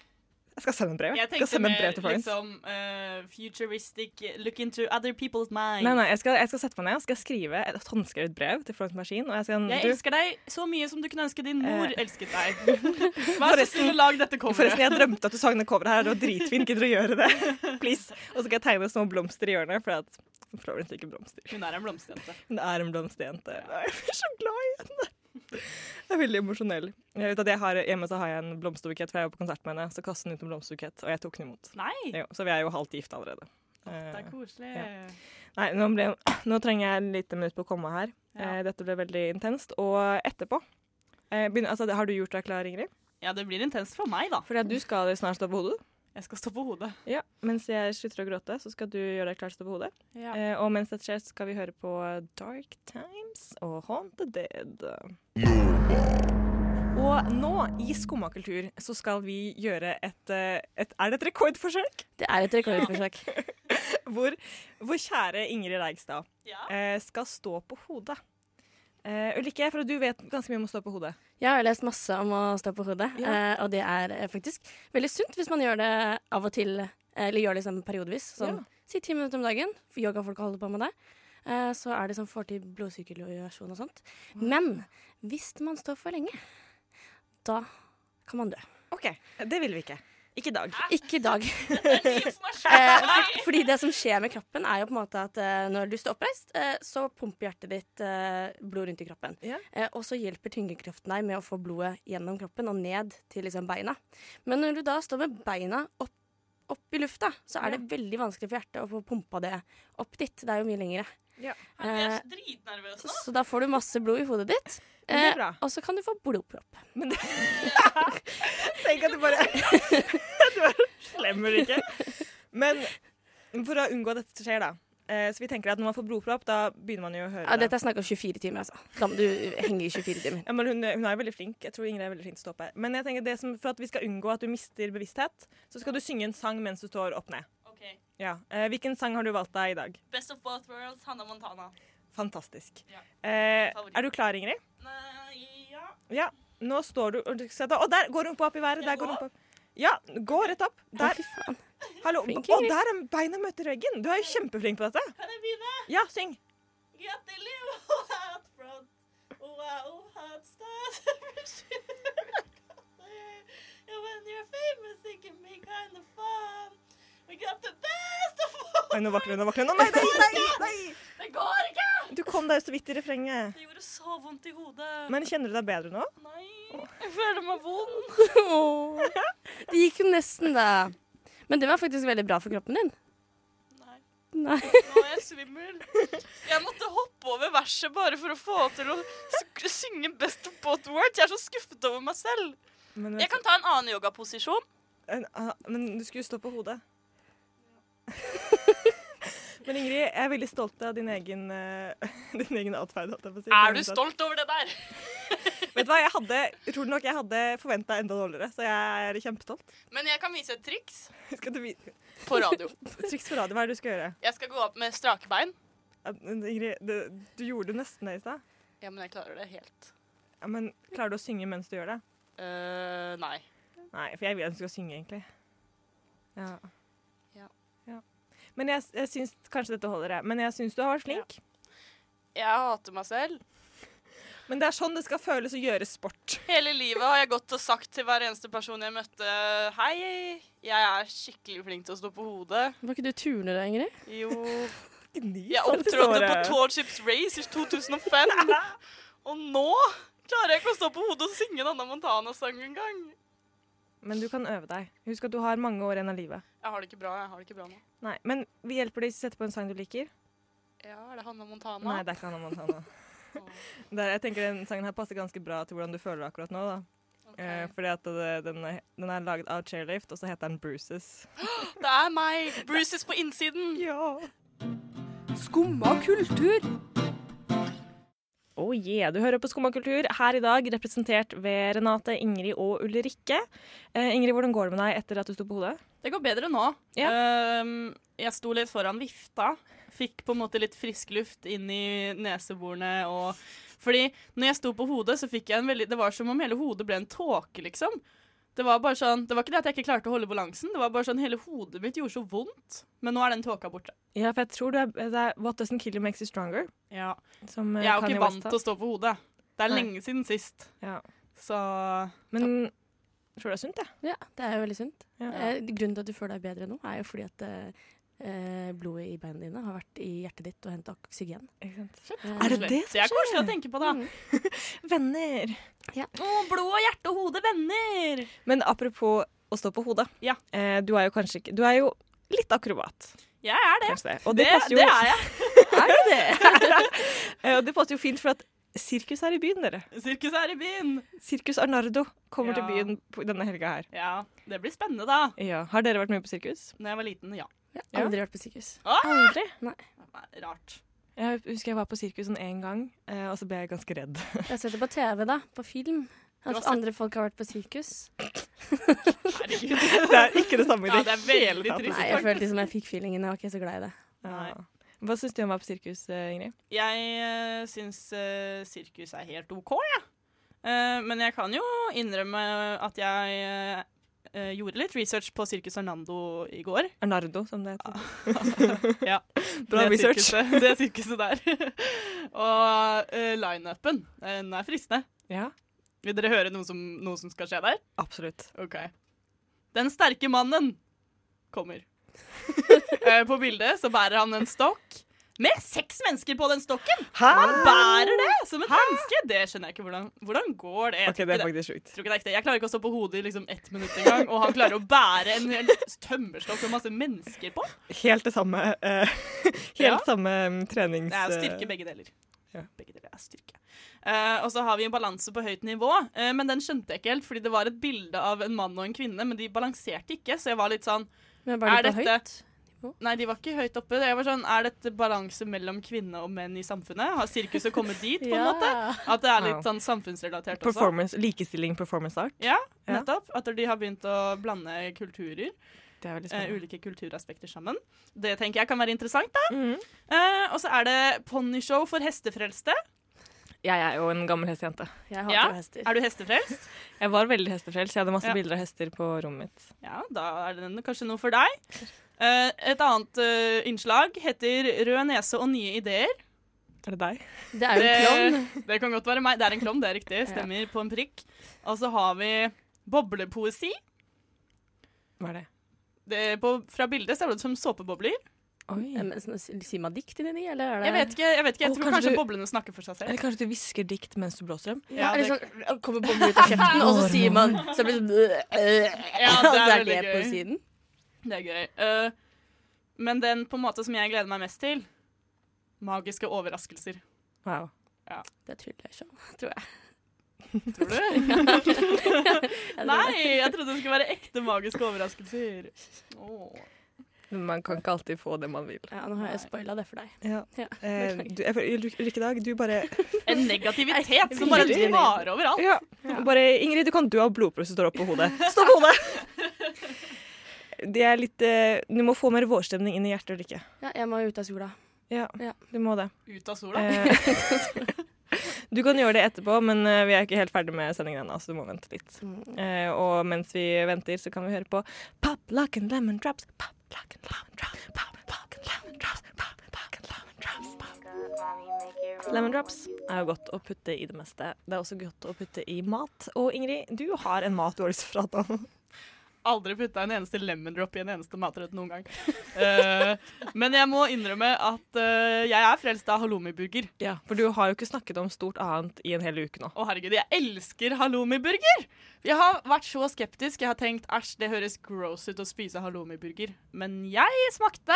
Speaker 1: Jeg skal sende en brev.
Speaker 2: Jeg
Speaker 1: Jeg skal
Speaker 2: tenkte
Speaker 1: sende en brev
Speaker 2: mer
Speaker 1: til Florence.
Speaker 2: liksom eh, futuristic look into other people's minds.
Speaker 1: Nei, nei, jeg skal, jeg skal sette meg ned og skal skrive et håndskrevet brev til Florence Maskin. Og jeg skal,
Speaker 2: Jeg
Speaker 1: du, Eh,
Speaker 2: elsker deg så mye som du kunne ønske din mor elsket deg. Vær så snill, lag dette coveret.
Speaker 1: Forresten, jeg drømte at du sang det coveret her. Det var dritfint. Gidder du å gjøre det? Please. Og så skal jeg tegne små blomster i hjørnet, for at Florence liker blomster.
Speaker 2: Hun er en blomsterjente.
Speaker 1: Hun er en blomsterjente. Nei, Jeg blir så glad i henne. Jeg er veldig emosjonell. Jeg vet at jeg har, hjemme så har jeg en blomsterbukett, for jeg var på konsert med henne. Så kastet hun ut en blomsterbukett, og jeg tok den imot.
Speaker 2: Nei,
Speaker 1: Jo, så vi er jo halvt gift allerede.
Speaker 2: det
Speaker 1: Eh,
Speaker 2: er koselig.
Speaker 1: Ja. Nei, nå, ble, nå trenger jeg litt minutt på å komme her. Eh, Dette ble veldig intenst. Og etterpå eh, begynner, altså, Har du gjort deg klar, Ingrid?
Speaker 2: Ja, det blir intenst for meg, da.
Speaker 1: Fordi at du skal snart stå på hodet.
Speaker 2: Jeg skal stå på hodet.
Speaker 1: Ja, Mens jeg slutter å gråte, så skal du gjøre deg klar til å stå på hodet.
Speaker 2: Ja.
Speaker 1: Eh, og mens dette skjer, så skal vi høre på Dark Times og Haunt the Dead. Og nå, i Skumma kultur, så skal vi gjøre et, eh, et Er det et rekordforsøk?
Speaker 3: Det er et rekordforsøk.
Speaker 1: hvor, hvor kjære Ingrid Reigstad
Speaker 2: Ja.
Speaker 1: eh, skal stå på hodet. Eh, Ulrikke, for du vet ganske mye om å stå på hodet.
Speaker 3: Jeg har lest masse om å stå på hodet,
Speaker 1: Ja.
Speaker 3: eh, og det er eh, faktisk veldig sunt hvis man gjør det av og til, eh, eller gjør det liksom periodevis. Sånn,
Speaker 1: Ja.
Speaker 3: Si ti minutter om dagen, for yogafolk holder på med det. eh, Så er det sånn får til blodsirkulasjon og sånt. Men hvis man står for lenge, da kan man dø.
Speaker 1: OK, det vil vi ikke. Ikke i dag.
Speaker 3: Ikke i dag. Eh,
Speaker 2: Informasjon.
Speaker 3: for- Fordi det som skjer med kroppen, er jo på en måte at eh, når du står oppreist, eh, så pumper hjertet ditt eh, blod rundt i kroppen.
Speaker 1: Ja.
Speaker 3: Eh, og så hjelper tyngdekraften deg med å få blodet gjennom kroppen og ned til liksom beina. Men når du da står med beina opp, opp i lufta, så er det veldig vanskelig for hjertet å få pumpa det opp dit. Det er jo mye lengre.
Speaker 1: Ja.
Speaker 2: Jeg
Speaker 3: Eh,
Speaker 2: er dritnervøs nå.
Speaker 3: så da får du masse blod i hodet ditt.
Speaker 1: Men det er
Speaker 3: eh,
Speaker 1: bra.
Speaker 3: og så kan du få blodpropp.
Speaker 1: Tenk at du bare Du er slem, Ulrikke. Men for å unngå at dette skjer, da. eh, Så vi tenker at når man får blodpropp, da begynner man jo å høre
Speaker 3: Ja,
Speaker 1: det.
Speaker 3: dette er snakk om 24 timer, altså. Da må du henge i 24 timer.
Speaker 1: Ja, men hun, hun er jo veldig flink. Jeg tror Ingrid er veldig flink til å stå på her. Men jeg tenker det som, for at vi skal unngå at du mister bevissthet, så skal du synge en sang mens du står opp ned.
Speaker 2: Ok.
Speaker 1: Ja. Eh, Hvilken sang har du valgt deg i dag?
Speaker 2: Best of both worlds, Hanna Montana.
Speaker 1: Fantastisk.
Speaker 2: Ja.
Speaker 1: Eh,
Speaker 2: Favoritt.
Speaker 1: er du klar, Ingrid?
Speaker 2: Nei, ja.
Speaker 1: Ja. Nå står du og du- se da- Å, der går rumpa opp i været. Der går rumpa opp. Ja, gå rett opp. Der.
Speaker 3: Fy faen.
Speaker 1: Hallo.
Speaker 3: Flink,
Speaker 1: Å, der er beina møter veggen. Du er jo kjempeflink på dette.
Speaker 2: Kan jeg begynne?
Speaker 1: Ja, syng.
Speaker 2: Gratulerer og hat front. Wow, hot stars. And when you're famous, it can be kind of fun. We got the best of all.
Speaker 1: Oi, nå våkner hun, nå våkner hun. Å, nei, nei, nei, nei!
Speaker 2: Det går ikke!
Speaker 1: Du kom deg jo så vidt i refrenget.
Speaker 2: Det gjorde så vondt i hodet.
Speaker 1: Men kjenner du deg bedre nå?
Speaker 2: Nei, jeg føler meg vond.
Speaker 3: Åh. Det gikk jo nesten, da. Men det var faktisk veldig bra for kroppen din.
Speaker 2: Nei,
Speaker 3: Nei.
Speaker 2: nå er jeg svimmel. Jeg måtte hoppe over verset bare for å få til å s- synge best of both worlds. Jeg er så skuffet over meg selv.
Speaker 1: Men,
Speaker 2: Jeg kan ta en annen yogaposisjon.
Speaker 1: en- ah, men du skulle jo stå på hodet. Men Ingrid, jeg er veldig stolt av din egen, eh, din egen atferd. holdt jeg på å si.
Speaker 2: Er du stolt over det der?
Speaker 1: Vet du hva, jeg hadde, utrolig nok, jeg hadde forventa enda dårligere, så jeg er kjempestolt.
Speaker 2: Men jeg kan vise et triks
Speaker 1: Skal du vite
Speaker 2: på radio.
Speaker 1: Triks for radio, hva er det du skal gjøre?
Speaker 2: Jeg skal gå opp med strake bein.
Speaker 1: Ja, men Ingrid, du, du gjorde nesten det i stad.
Speaker 2: Ja, men jeg klarer det helt.
Speaker 1: Ja, men klarer du å synge mens du gjør det?
Speaker 2: Eh, nei.
Speaker 1: Nei, for jeg vil at du skal synge, egentlig. Ja.
Speaker 2: Ja.
Speaker 1: Ja. Men jeg, jeg syns kanskje dette holder, jeg. Men jeg syns du har vært flink.
Speaker 2: Jeg hater meg selv.
Speaker 1: Men det er sånn det skal føles å gjøre sport.
Speaker 2: Hele livet har jeg gått og sagt til hver eneste person jeg møtte Hei, jeg er skikkelig flink til å stå på hodet.
Speaker 3: Var ikke du turner, Ingrid?
Speaker 2: Jo
Speaker 3: Jeg
Speaker 2: Jeg opptrådte på Tall Ships Race i 2005. Og nå klarer jeg ikke å stå på hodet og synge en Anna Montana-sang engang.
Speaker 1: Men du kan øve deg. Husk at du har mange år igjen av livet.
Speaker 2: Jeg har det ikke bra jeg har det ikke bra nå.
Speaker 1: Nei, Men vi hjelper deg å sette på en sang du liker.
Speaker 2: Ja, er det Hanna Montana?
Speaker 1: Nei, det er ikke Anna Montana. Det er- jeg tenker Den sangen her passer ganske bra til hvordan du føler det akkurat nå. da. Eh, fordi at det, den, er, den er laget av Chairlift, og så heter den Bruises.
Speaker 2: Det er meg! Bruises på innsiden.
Speaker 1: Ja.
Speaker 4: Skumma kultur.
Speaker 1: Oh yeah, Du hører på Skumma kultur her i dag, representert ved Renate, Ingrid og Ulrikke. Eh, Ingrid, hvordan går det med deg etter at du sto på hodet?
Speaker 2: Det går bedre nå. Ehm, jeg sto litt foran vifta. Fikk på en måte litt frisk luft inn i neseborene og Fordi når jeg sto på hodet, så fikk jeg en veldig Det var som om hele hodet ble en tåke, liksom. Det var bare sånn Det var ikke det at jeg ikke klarte å holde balansen, det var bare sånn hele hodet mitt gjorde så vondt. Men nå er den tåka borte.
Speaker 1: Ja, for jeg tror det er, det er What Doesn't Kill You Makes You Stronger.
Speaker 2: Ja.
Speaker 1: Som, eh,
Speaker 2: Jeg er jo
Speaker 1: Kanye
Speaker 2: ikke
Speaker 1: West
Speaker 2: vant
Speaker 1: har.
Speaker 2: til å stå på hodet. Det er
Speaker 1: Nei.
Speaker 2: lenge siden sist.
Speaker 1: Ja.
Speaker 2: Så
Speaker 1: Men jeg tror det er sunt, jeg.
Speaker 3: Ja, det er jo veldig sunt.
Speaker 1: Ja.
Speaker 3: Eh, grunnen til at du føler deg bedre nå, er jo fordi at eh, blodet i beina dine har vært i hjertet ditt og henta oksygen.
Speaker 1: Er det det som
Speaker 2: Det er koselig å tenke på, da.
Speaker 1: Venner.
Speaker 2: Mm. Å, blod og hjerte og hode, venner!
Speaker 1: Men apropos å stå på hodet. Eh, du er jo kanskje ikke Du er jo litt akrobat.
Speaker 2: Jeg er det.
Speaker 1: Kanskje det. Og det,
Speaker 2: det,
Speaker 1: passer jo
Speaker 2: det er jeg.
Speaker 1: Eh, og det passer jo fint, for at sirkus er i byen, dere.
Speaker 2: Sirkus er i byen.
Speaker 1: Sirkus Arnardo kommer
Speaker 2: Ja.
Speaker 1: til byen på denne helga her.
Speaker 2: Ja, det blir spennende da.
Speaker 1: Ja. Har dere vært mye på sirkus?
Speaker 2: Når jeg var liten, ja.
Speaker 3: Eh, Aldri vært på sykehus.
Speaker 2: Ah!
Speaker 1: Aldri?
Speaker 2: Nei, Rart.
Speaker 1: Jeg husker jeg var på sirkus sånn én gang, eh, og så ble jeg ganske redd.
Speaker 3: Jeg har sett det på TV, da. På film.
Speaker 1: Du har
Speaker 3: At
Speaker 1: sett-
Speaker 3: andre folk har vært på sykehus.
Speaker 1: det er ikke det samme i
Speaker 2: Ja,
Speaker 1: det,
Speaker 2: det er veldig
Speaker 1: hele tatt.
Speaker 2: trist,
Speaker 3: Nei, jeg følte liksom jeg fikk feelingen. Jeg var ikke så glad i det.
Speaker 1: Ja. Hva syns du om å være på sirkus, eh, Ingrid?
Speaker 2: Jeg uh, syns eh, sirkus er helt OK, jeg. Eh, men jeg kan jo innrømme at jeg eh, gjorde litt research på Sirkus Arnando i går.
Speaker 1: Arnardo, som det heter.
Speaker 2: ja.
Speaker 1: Bra
Speaker 2: det
Speaker 1: research.
Speaker 2: Sirkuset, det sirkuset der. Og uh, lineupen, eh, den er fristende.
Speaker 1: Ja.
Speaker 2: Vil dere høre noe som, noe som skal skje der?
Speaker 1: Absolutt.
Speaker 2: Ok. Den sterke mannen kommer. Eh, på bildet så bærer han en stokk. Med seks mennesker på den stokken!
Speaker 1: Ah!
Speaker 2: Han bærer det som et menneske! Det skjønner jeg ikke. Hvordan, hvordan går det? Jeg
Speaker 1: Ok,
Speaker 2: tror
Speaker 1: det
Speaker 2: ikke
Speaker 1: er faktisk sjukt.
Speaker 2: Tror ikke det er ekte. Jeg klarer ikke å stå på hodet i liksom ett minutt engang, og han klarer å bære en hel tømmerstokk med masse mennesker på.
Speaker 1: Helt det samme eh, Helt
Speaker 2: Ja.
Speaker 1: samme mm, trenings...
Speaker 2: Det er jo styrke, begge deler. Begge deler er styrke. Eh, og så har vi en balanse på høyt nivå, eh, men den skjønte jeg ikke helt, fordi det var et bilde av en mann og en kvinne, men de balanserte ikke, så jeg var litt sånn
Speaker 3: Men var de på
Speaker 2: Nei, de var ikke høyt oppe. Jeg var sånn, Er dette balanse mellom kvinne og menn i samfunnet? Har sirkuset kommet dit, på en
Speaker 3: Ja.
Speaker 2: måte? At det er
Speaker 1: Ja.
Speaker 2: litt sånn samfunnsrelatert også.
Speaker 1: Performance, likestilling, performance art.
Speaker 2: Ja,
Speaker 1: Ja.
Speaker 2: nettopp. At de har begynt å blande kulturer.
Speaker 1: Det er veldig
Speaker 2: Eh,
Speaker 1: spennende.
Speaker 2: ulike kulturaspekter sammen. Det tenker jeg kan være interessant, da.
Speaker 1: Mhm.
Speaker 2: Eh, og så er det ponnishow for hestefrelste.
Speaker 1: Jeg er jo en gammel hestejente.
Speaker 3: Jeg
Speaker 2: Ja. Er du hestefrelst?
Speaker 1: Jeg var veldig hestefrelst. Jeg hadde masse
Speaker 2: Ja.
Speaker 1: bilder av hester på rommet mitt.
Speaker 2: Ja, da er det kanskje noe for deg. Eh, et annet eh, innslag heter Rød nese og nye ideer.
Speaker 1: Er det deg?
Speaker 3: Det er jo en
Speaker 2: Det, det kan godt være meg. Det er en klovn, det er riktig. Stemmer på en prikk. Og så har vi boblepoesi.
Speaker 1: Hva er det?
Speaker 2: Det, på, fra bildet ser det ut som såpebobler.
Speaker 3: Eh, men sånn- Sier man dikt inni de, eller er det
Speaker 2: Jeg vet ikke. Jeg, vet ikke, jeg
Speaker 1: Å,
Speaker 2: tror
Speaker 1: kanskje
Speaker 2: kanskje
Speaker 1: du-
Speaker 2: boblene snakker for seg
Speaker 1: Eller
Speaker 2: selv.
Speaker 1: kanskje du hvisker dikt mens du blåser dem?
Speaker 3: Ja,
Speaker 2: det-
Speaker 3: eller sånn kommer bomben ut av kjeften, og så sier man Så blir det sånn
Speaker 2: Ja,
Speaker 3: Ja,
Speaker 2: det er
Speaker 3: det
Speaker 2: veldig gøy.
Speaker 3: poesien.
Speaker 2: Det er gøy. Eh, men den på en måte som jeg gleder meg mest til Magiske overraskelser.
Speaker 1: Wow.
Speaker 2: Ja.
Speaker 3: Det trodde jeg ikke, tror jeg.
Speaker 2: Tror du? Nei, jeg trodde det skulle være ekte magiske overraskelser. Åh.
Speaker 1: Men man kan ikke alltid få det man vil.
Speaker 3: Ja, nå har jeg spoila det for deg.
Speaker 1: Ja.
Speaker 3: Ja.
Speaker 1: Eh, du, jeg føler- Ulrikke Dag, du bare
Speaker 2: En negativitet som bare
Speaker 1: Veldig.
Speaker 2: drar overalt.
Speaker 1: Ja. Bare, Ingrid, du kan dø av blodprøve som står oppå hodet. Stå på hodet! Det er litt eh, Du må få mer vårstemning inn i hjertet, Ulrikke.
Speaker 3: Ja, jeg må ut av sola.
Speaker 1: Ja,
Speaker 3: Ja.
Speaker 1: du må det.
Speaker 2: Ut av sola.
Speaker 1: Eh, du kan gjøre det etterpå, men eh, vi er ikke helt ferdig med sendingen ennå, så du må vente litt.
Speaker 2: Mm.
Speaker 1: Eh, og mens vi venter, så kan vi høre på Pop, lock and lemon drops. Pop, lock and lemon drops. Pop, lock and lemon drops. Pop, lock and lemon drops. Pop. Lemon drops er jo godt å putte i det meste. Det er også godt å putte i mat. Og Ingrid, du har en mat du har lyst til å prate om.
Speaker 2: Aldri putta en eneste lemon drop i en eneste matrett noen gang. Eh, men jeg må innrømme at eh, jeg er frelst av halloumiburger.
Speaker 1: Ja, For du har jo ikke snakket om stort annet i en hel uke nå.
Speaker 2: Å herregud, jeg elsker halloumiburger! Jeg har vært så skeptisk. Jeg har tenkt æsj, det høres gross ut å spise halloumiburger. Men jeg smakte.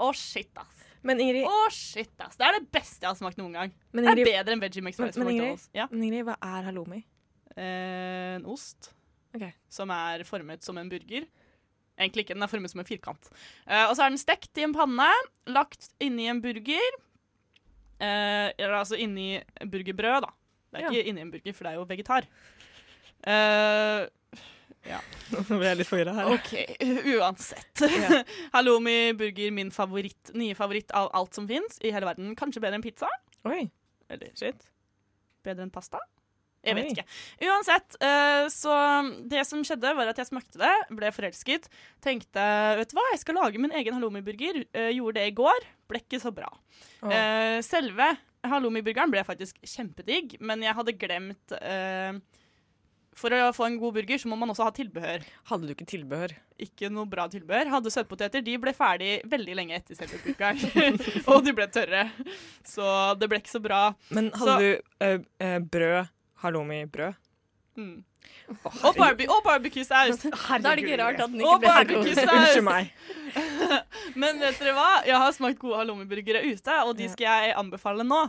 Speaker 2: Å, shit, ass.
Speaker 1: Men Ingrid
Speaker 2: Å, shit, ass. Det er det beste jeg har smakt noen gang.
Speaker 1: Men
Speaker 2: det
Speaker 1: Ingrid-
Speaker 2: er bedre enn Veggie Max
Speaker 1: Men,
Speaker 2: Fries.
Speaker 1: men, Ingrid, men Ingrid, hva er halloumi?
Speaker 2: Eh, En ost som er formet som en burger. Egentlig ikke, den er formet som en firkant. Eh, og så er den stekt i en panne, lagt inni en burger. Eh, eller altså inni burgerbrød, da. Det er
Speaker 1: Ja.
Speaker 2: ikke inni en burger, for det er jo vegetar. Eh, ja.
Speaker 1: Nå ble jeg litt forvirra her.
Speaker 2: OK, uansett.
Speaker 1: Ja.
Speaker 2: Halloumi burger, min favoritt, nye favoritt av alt som fins i hele verden. Kanskje bedre enn pizza.
Speaker 1: Oi.
Speaker 2: Eller
Speaker 1: Shit.
Speaker 2: bedre enn pasta. Jeg vet
Speaker 1: Oi.
Speaker 2: ikke. Uansett, eh, så det som skjedde, var at jeg smakte det, ble forelsket. Tenkte vet du hva, jeg skal lage min egen halloumiburger. Eh, Gjorde det i går. Ble ikke så bra.
Speaker 1: Åh.
Speaker 2: Eh, Selve halloumiburgeren ble faktisk kjempedigg, men jeg hadde glemt eh, For å få en god burger så må man også ha tilbehør.
Speaker 1: Hadde du ikke tilbehør?
Speaker 2: Ikke noe bra tilbehør. Hadde søtpoteter. De ble ferdig veldig lenge etter selve burgeren. og de ble tørre. Så det ble ikke så bra.
Speaker 1: Men hadde
Speaker 2: så,
Speaker 1: du eh, eh, brød, halloumi-brød?
Speaker 2: Mm. Og, barbe og barbecue-saus.
Speaker 3: Da er det ikke
Speaker 2: Herregud.
Speaker 3: rart at den ikke
Speaker 2: Og
Speaker 3: ble så god.
Speaker 2: barbecue-saus.
Speaker 1: Unnskyld meg.
Speaker 2: Men vet dere hva? Jeg har smakt gode halloumiburgere ute, og de skal jeg anbefale nå.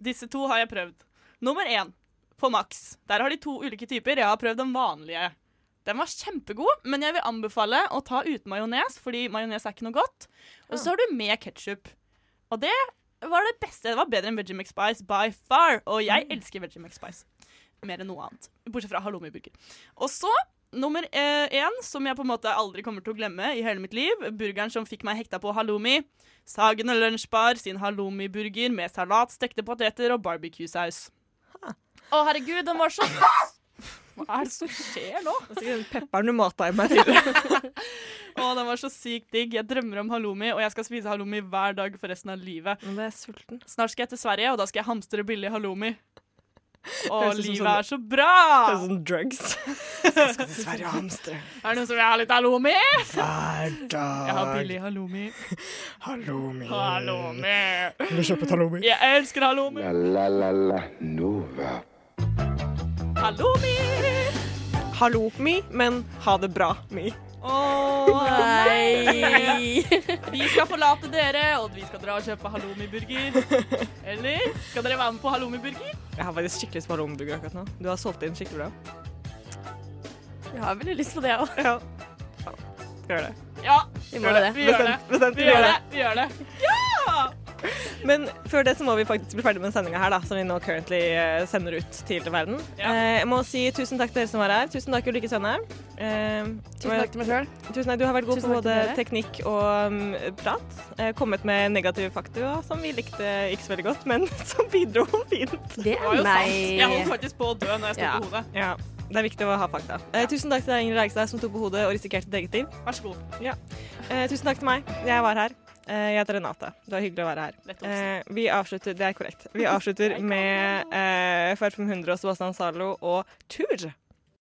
Speaker 2: Disse to har jeg prøvd. Nummer én på Max. Der har de to ulike typer. Jeg har prøvd den vanlige. Den var kjempegod, men jeg vil anbefale å ta uten majones, fordi majones er ikke noe godt. Og så har du med ketsjup. Og det var det beste. Det var bedre enn Veggie Mac Spice by far. Og jeg elsker Veggie Mac Spice mer enn noe annet. Bortsett fra halloumiburger. Og så nummer eh, én, som jeg på en måte aldri kommer til å glemme i hele mitt liv. Burgeren som fikk meg hekta på halloumi. Sagene Lunsjbar sin halloumiburger med salat, stekte poteter og barbecue-saus. Å, herregud, den var så Hva er det som skjer nå?
Speaker 1: Pepperen du mata i meg tidligere.
Speaker 2: Å, den var så sykt digg. Jeg drømmer om halloumi, og jeg skal spise halloumi hver dag for resten av livet.
Speaker 1: Nå ble jeg sulten.
Speaker 2: Snart skal jeg til Sverige, og da skal jeg hamstre billig halloumi. Å,
Speaker 1: Høres ut som
Speaker 2: livet
Speaker 1: sånn-
Speaker 2: er så bra!
Speaker 1: Høres ut som sånn drugs. Jeg skal til Sverige og hamstre.
Speaker 2: Er det noen som vil ha litt halloumi?
Speaker 1: Hver dag.
Speaker 2: Jeg har billig halloumi.
Speaker 1: Halloumi.
Speaker 2: Halloumi.
Speaker 1: Vil du kjøpe et halloumi?
Speaker 2: Jeg elsker halloumi.
Speaker 11: La la la la Nova.
Speaker 2: Halloumi!
Speaker 1: Halloumi, men ha det bra, mi.
Speaker 2: Å, nei! Vi skal forlate dere, og vi skal dra og kjøpe halloumiburger. Eller skal dere være med på halloumiburger?
Speaker 1: Jeg har faktisk skikkelig lyst på halloumiburger akkurat nå. Du har solgt inn skikkelig bra.
Speaker 3: Jeg har veldig lyst på det òg.
Speaker 1: Ja. Skal gjøre det.
Speaker 2: Ja,
Speaker 3: Vi må
Speaker 2: gjør
Speaker 3: det.
Speaker 2: Vi gjør det.
Speaker 1: Bestemt, bestemt,
Speaker 2: Vi gjør det. Vi gjør det. Ja!
Speaker 1: Men før det så må vi faktisk bli ferdig med sendinga her, da, som vi nå currently eh, sender ut til hele verden. Eh, Jeg må si tusen takk til dere som var her. Tusen takk, Ulrikke Sønne.
Speaker 3: Tusen takk til meg sjøl.
Speaker 1: Tusen takk. Du har vært god
Speaker 3: Tusen
Speaker 1: på
Speaker 3: takk til
Speaker 1: både
Speaker 3: dere.
Speaker 1: teknikk og um, prat. Eh, Kommet med negative fakta som vi likte ikke så veldig godt, men som bidro fint.
Speaker 3: Det
Speaker 2: Det var
Speaker 3: er
Speaker 2: jo sant. Jeg holdt
Speaker 3: meg.
Speaker 2: faktisk på å dø når jeg sto
Speaker 3: Ja.
Speaker 2: på hodet.
Speaker 1: Ja, det er viktig å ha fakta. Eh, Tusen takk til deg, Ingrid Reigstad, som tok på hodet og risikerte ditt eget liv.
Speaker 2: Vær så god.
Speaker 1: Ja. Eh, tusen takk til meg. Jeg var her. Eh, jeg heter Renate. Det var hyggelig å være her.
Speaker 2: Lett å
Speaker 1: Eh, vi avslutter Det er korrekt. Vi avslutter med eh, Farfum 100 og Sebastian Zalo og Tur.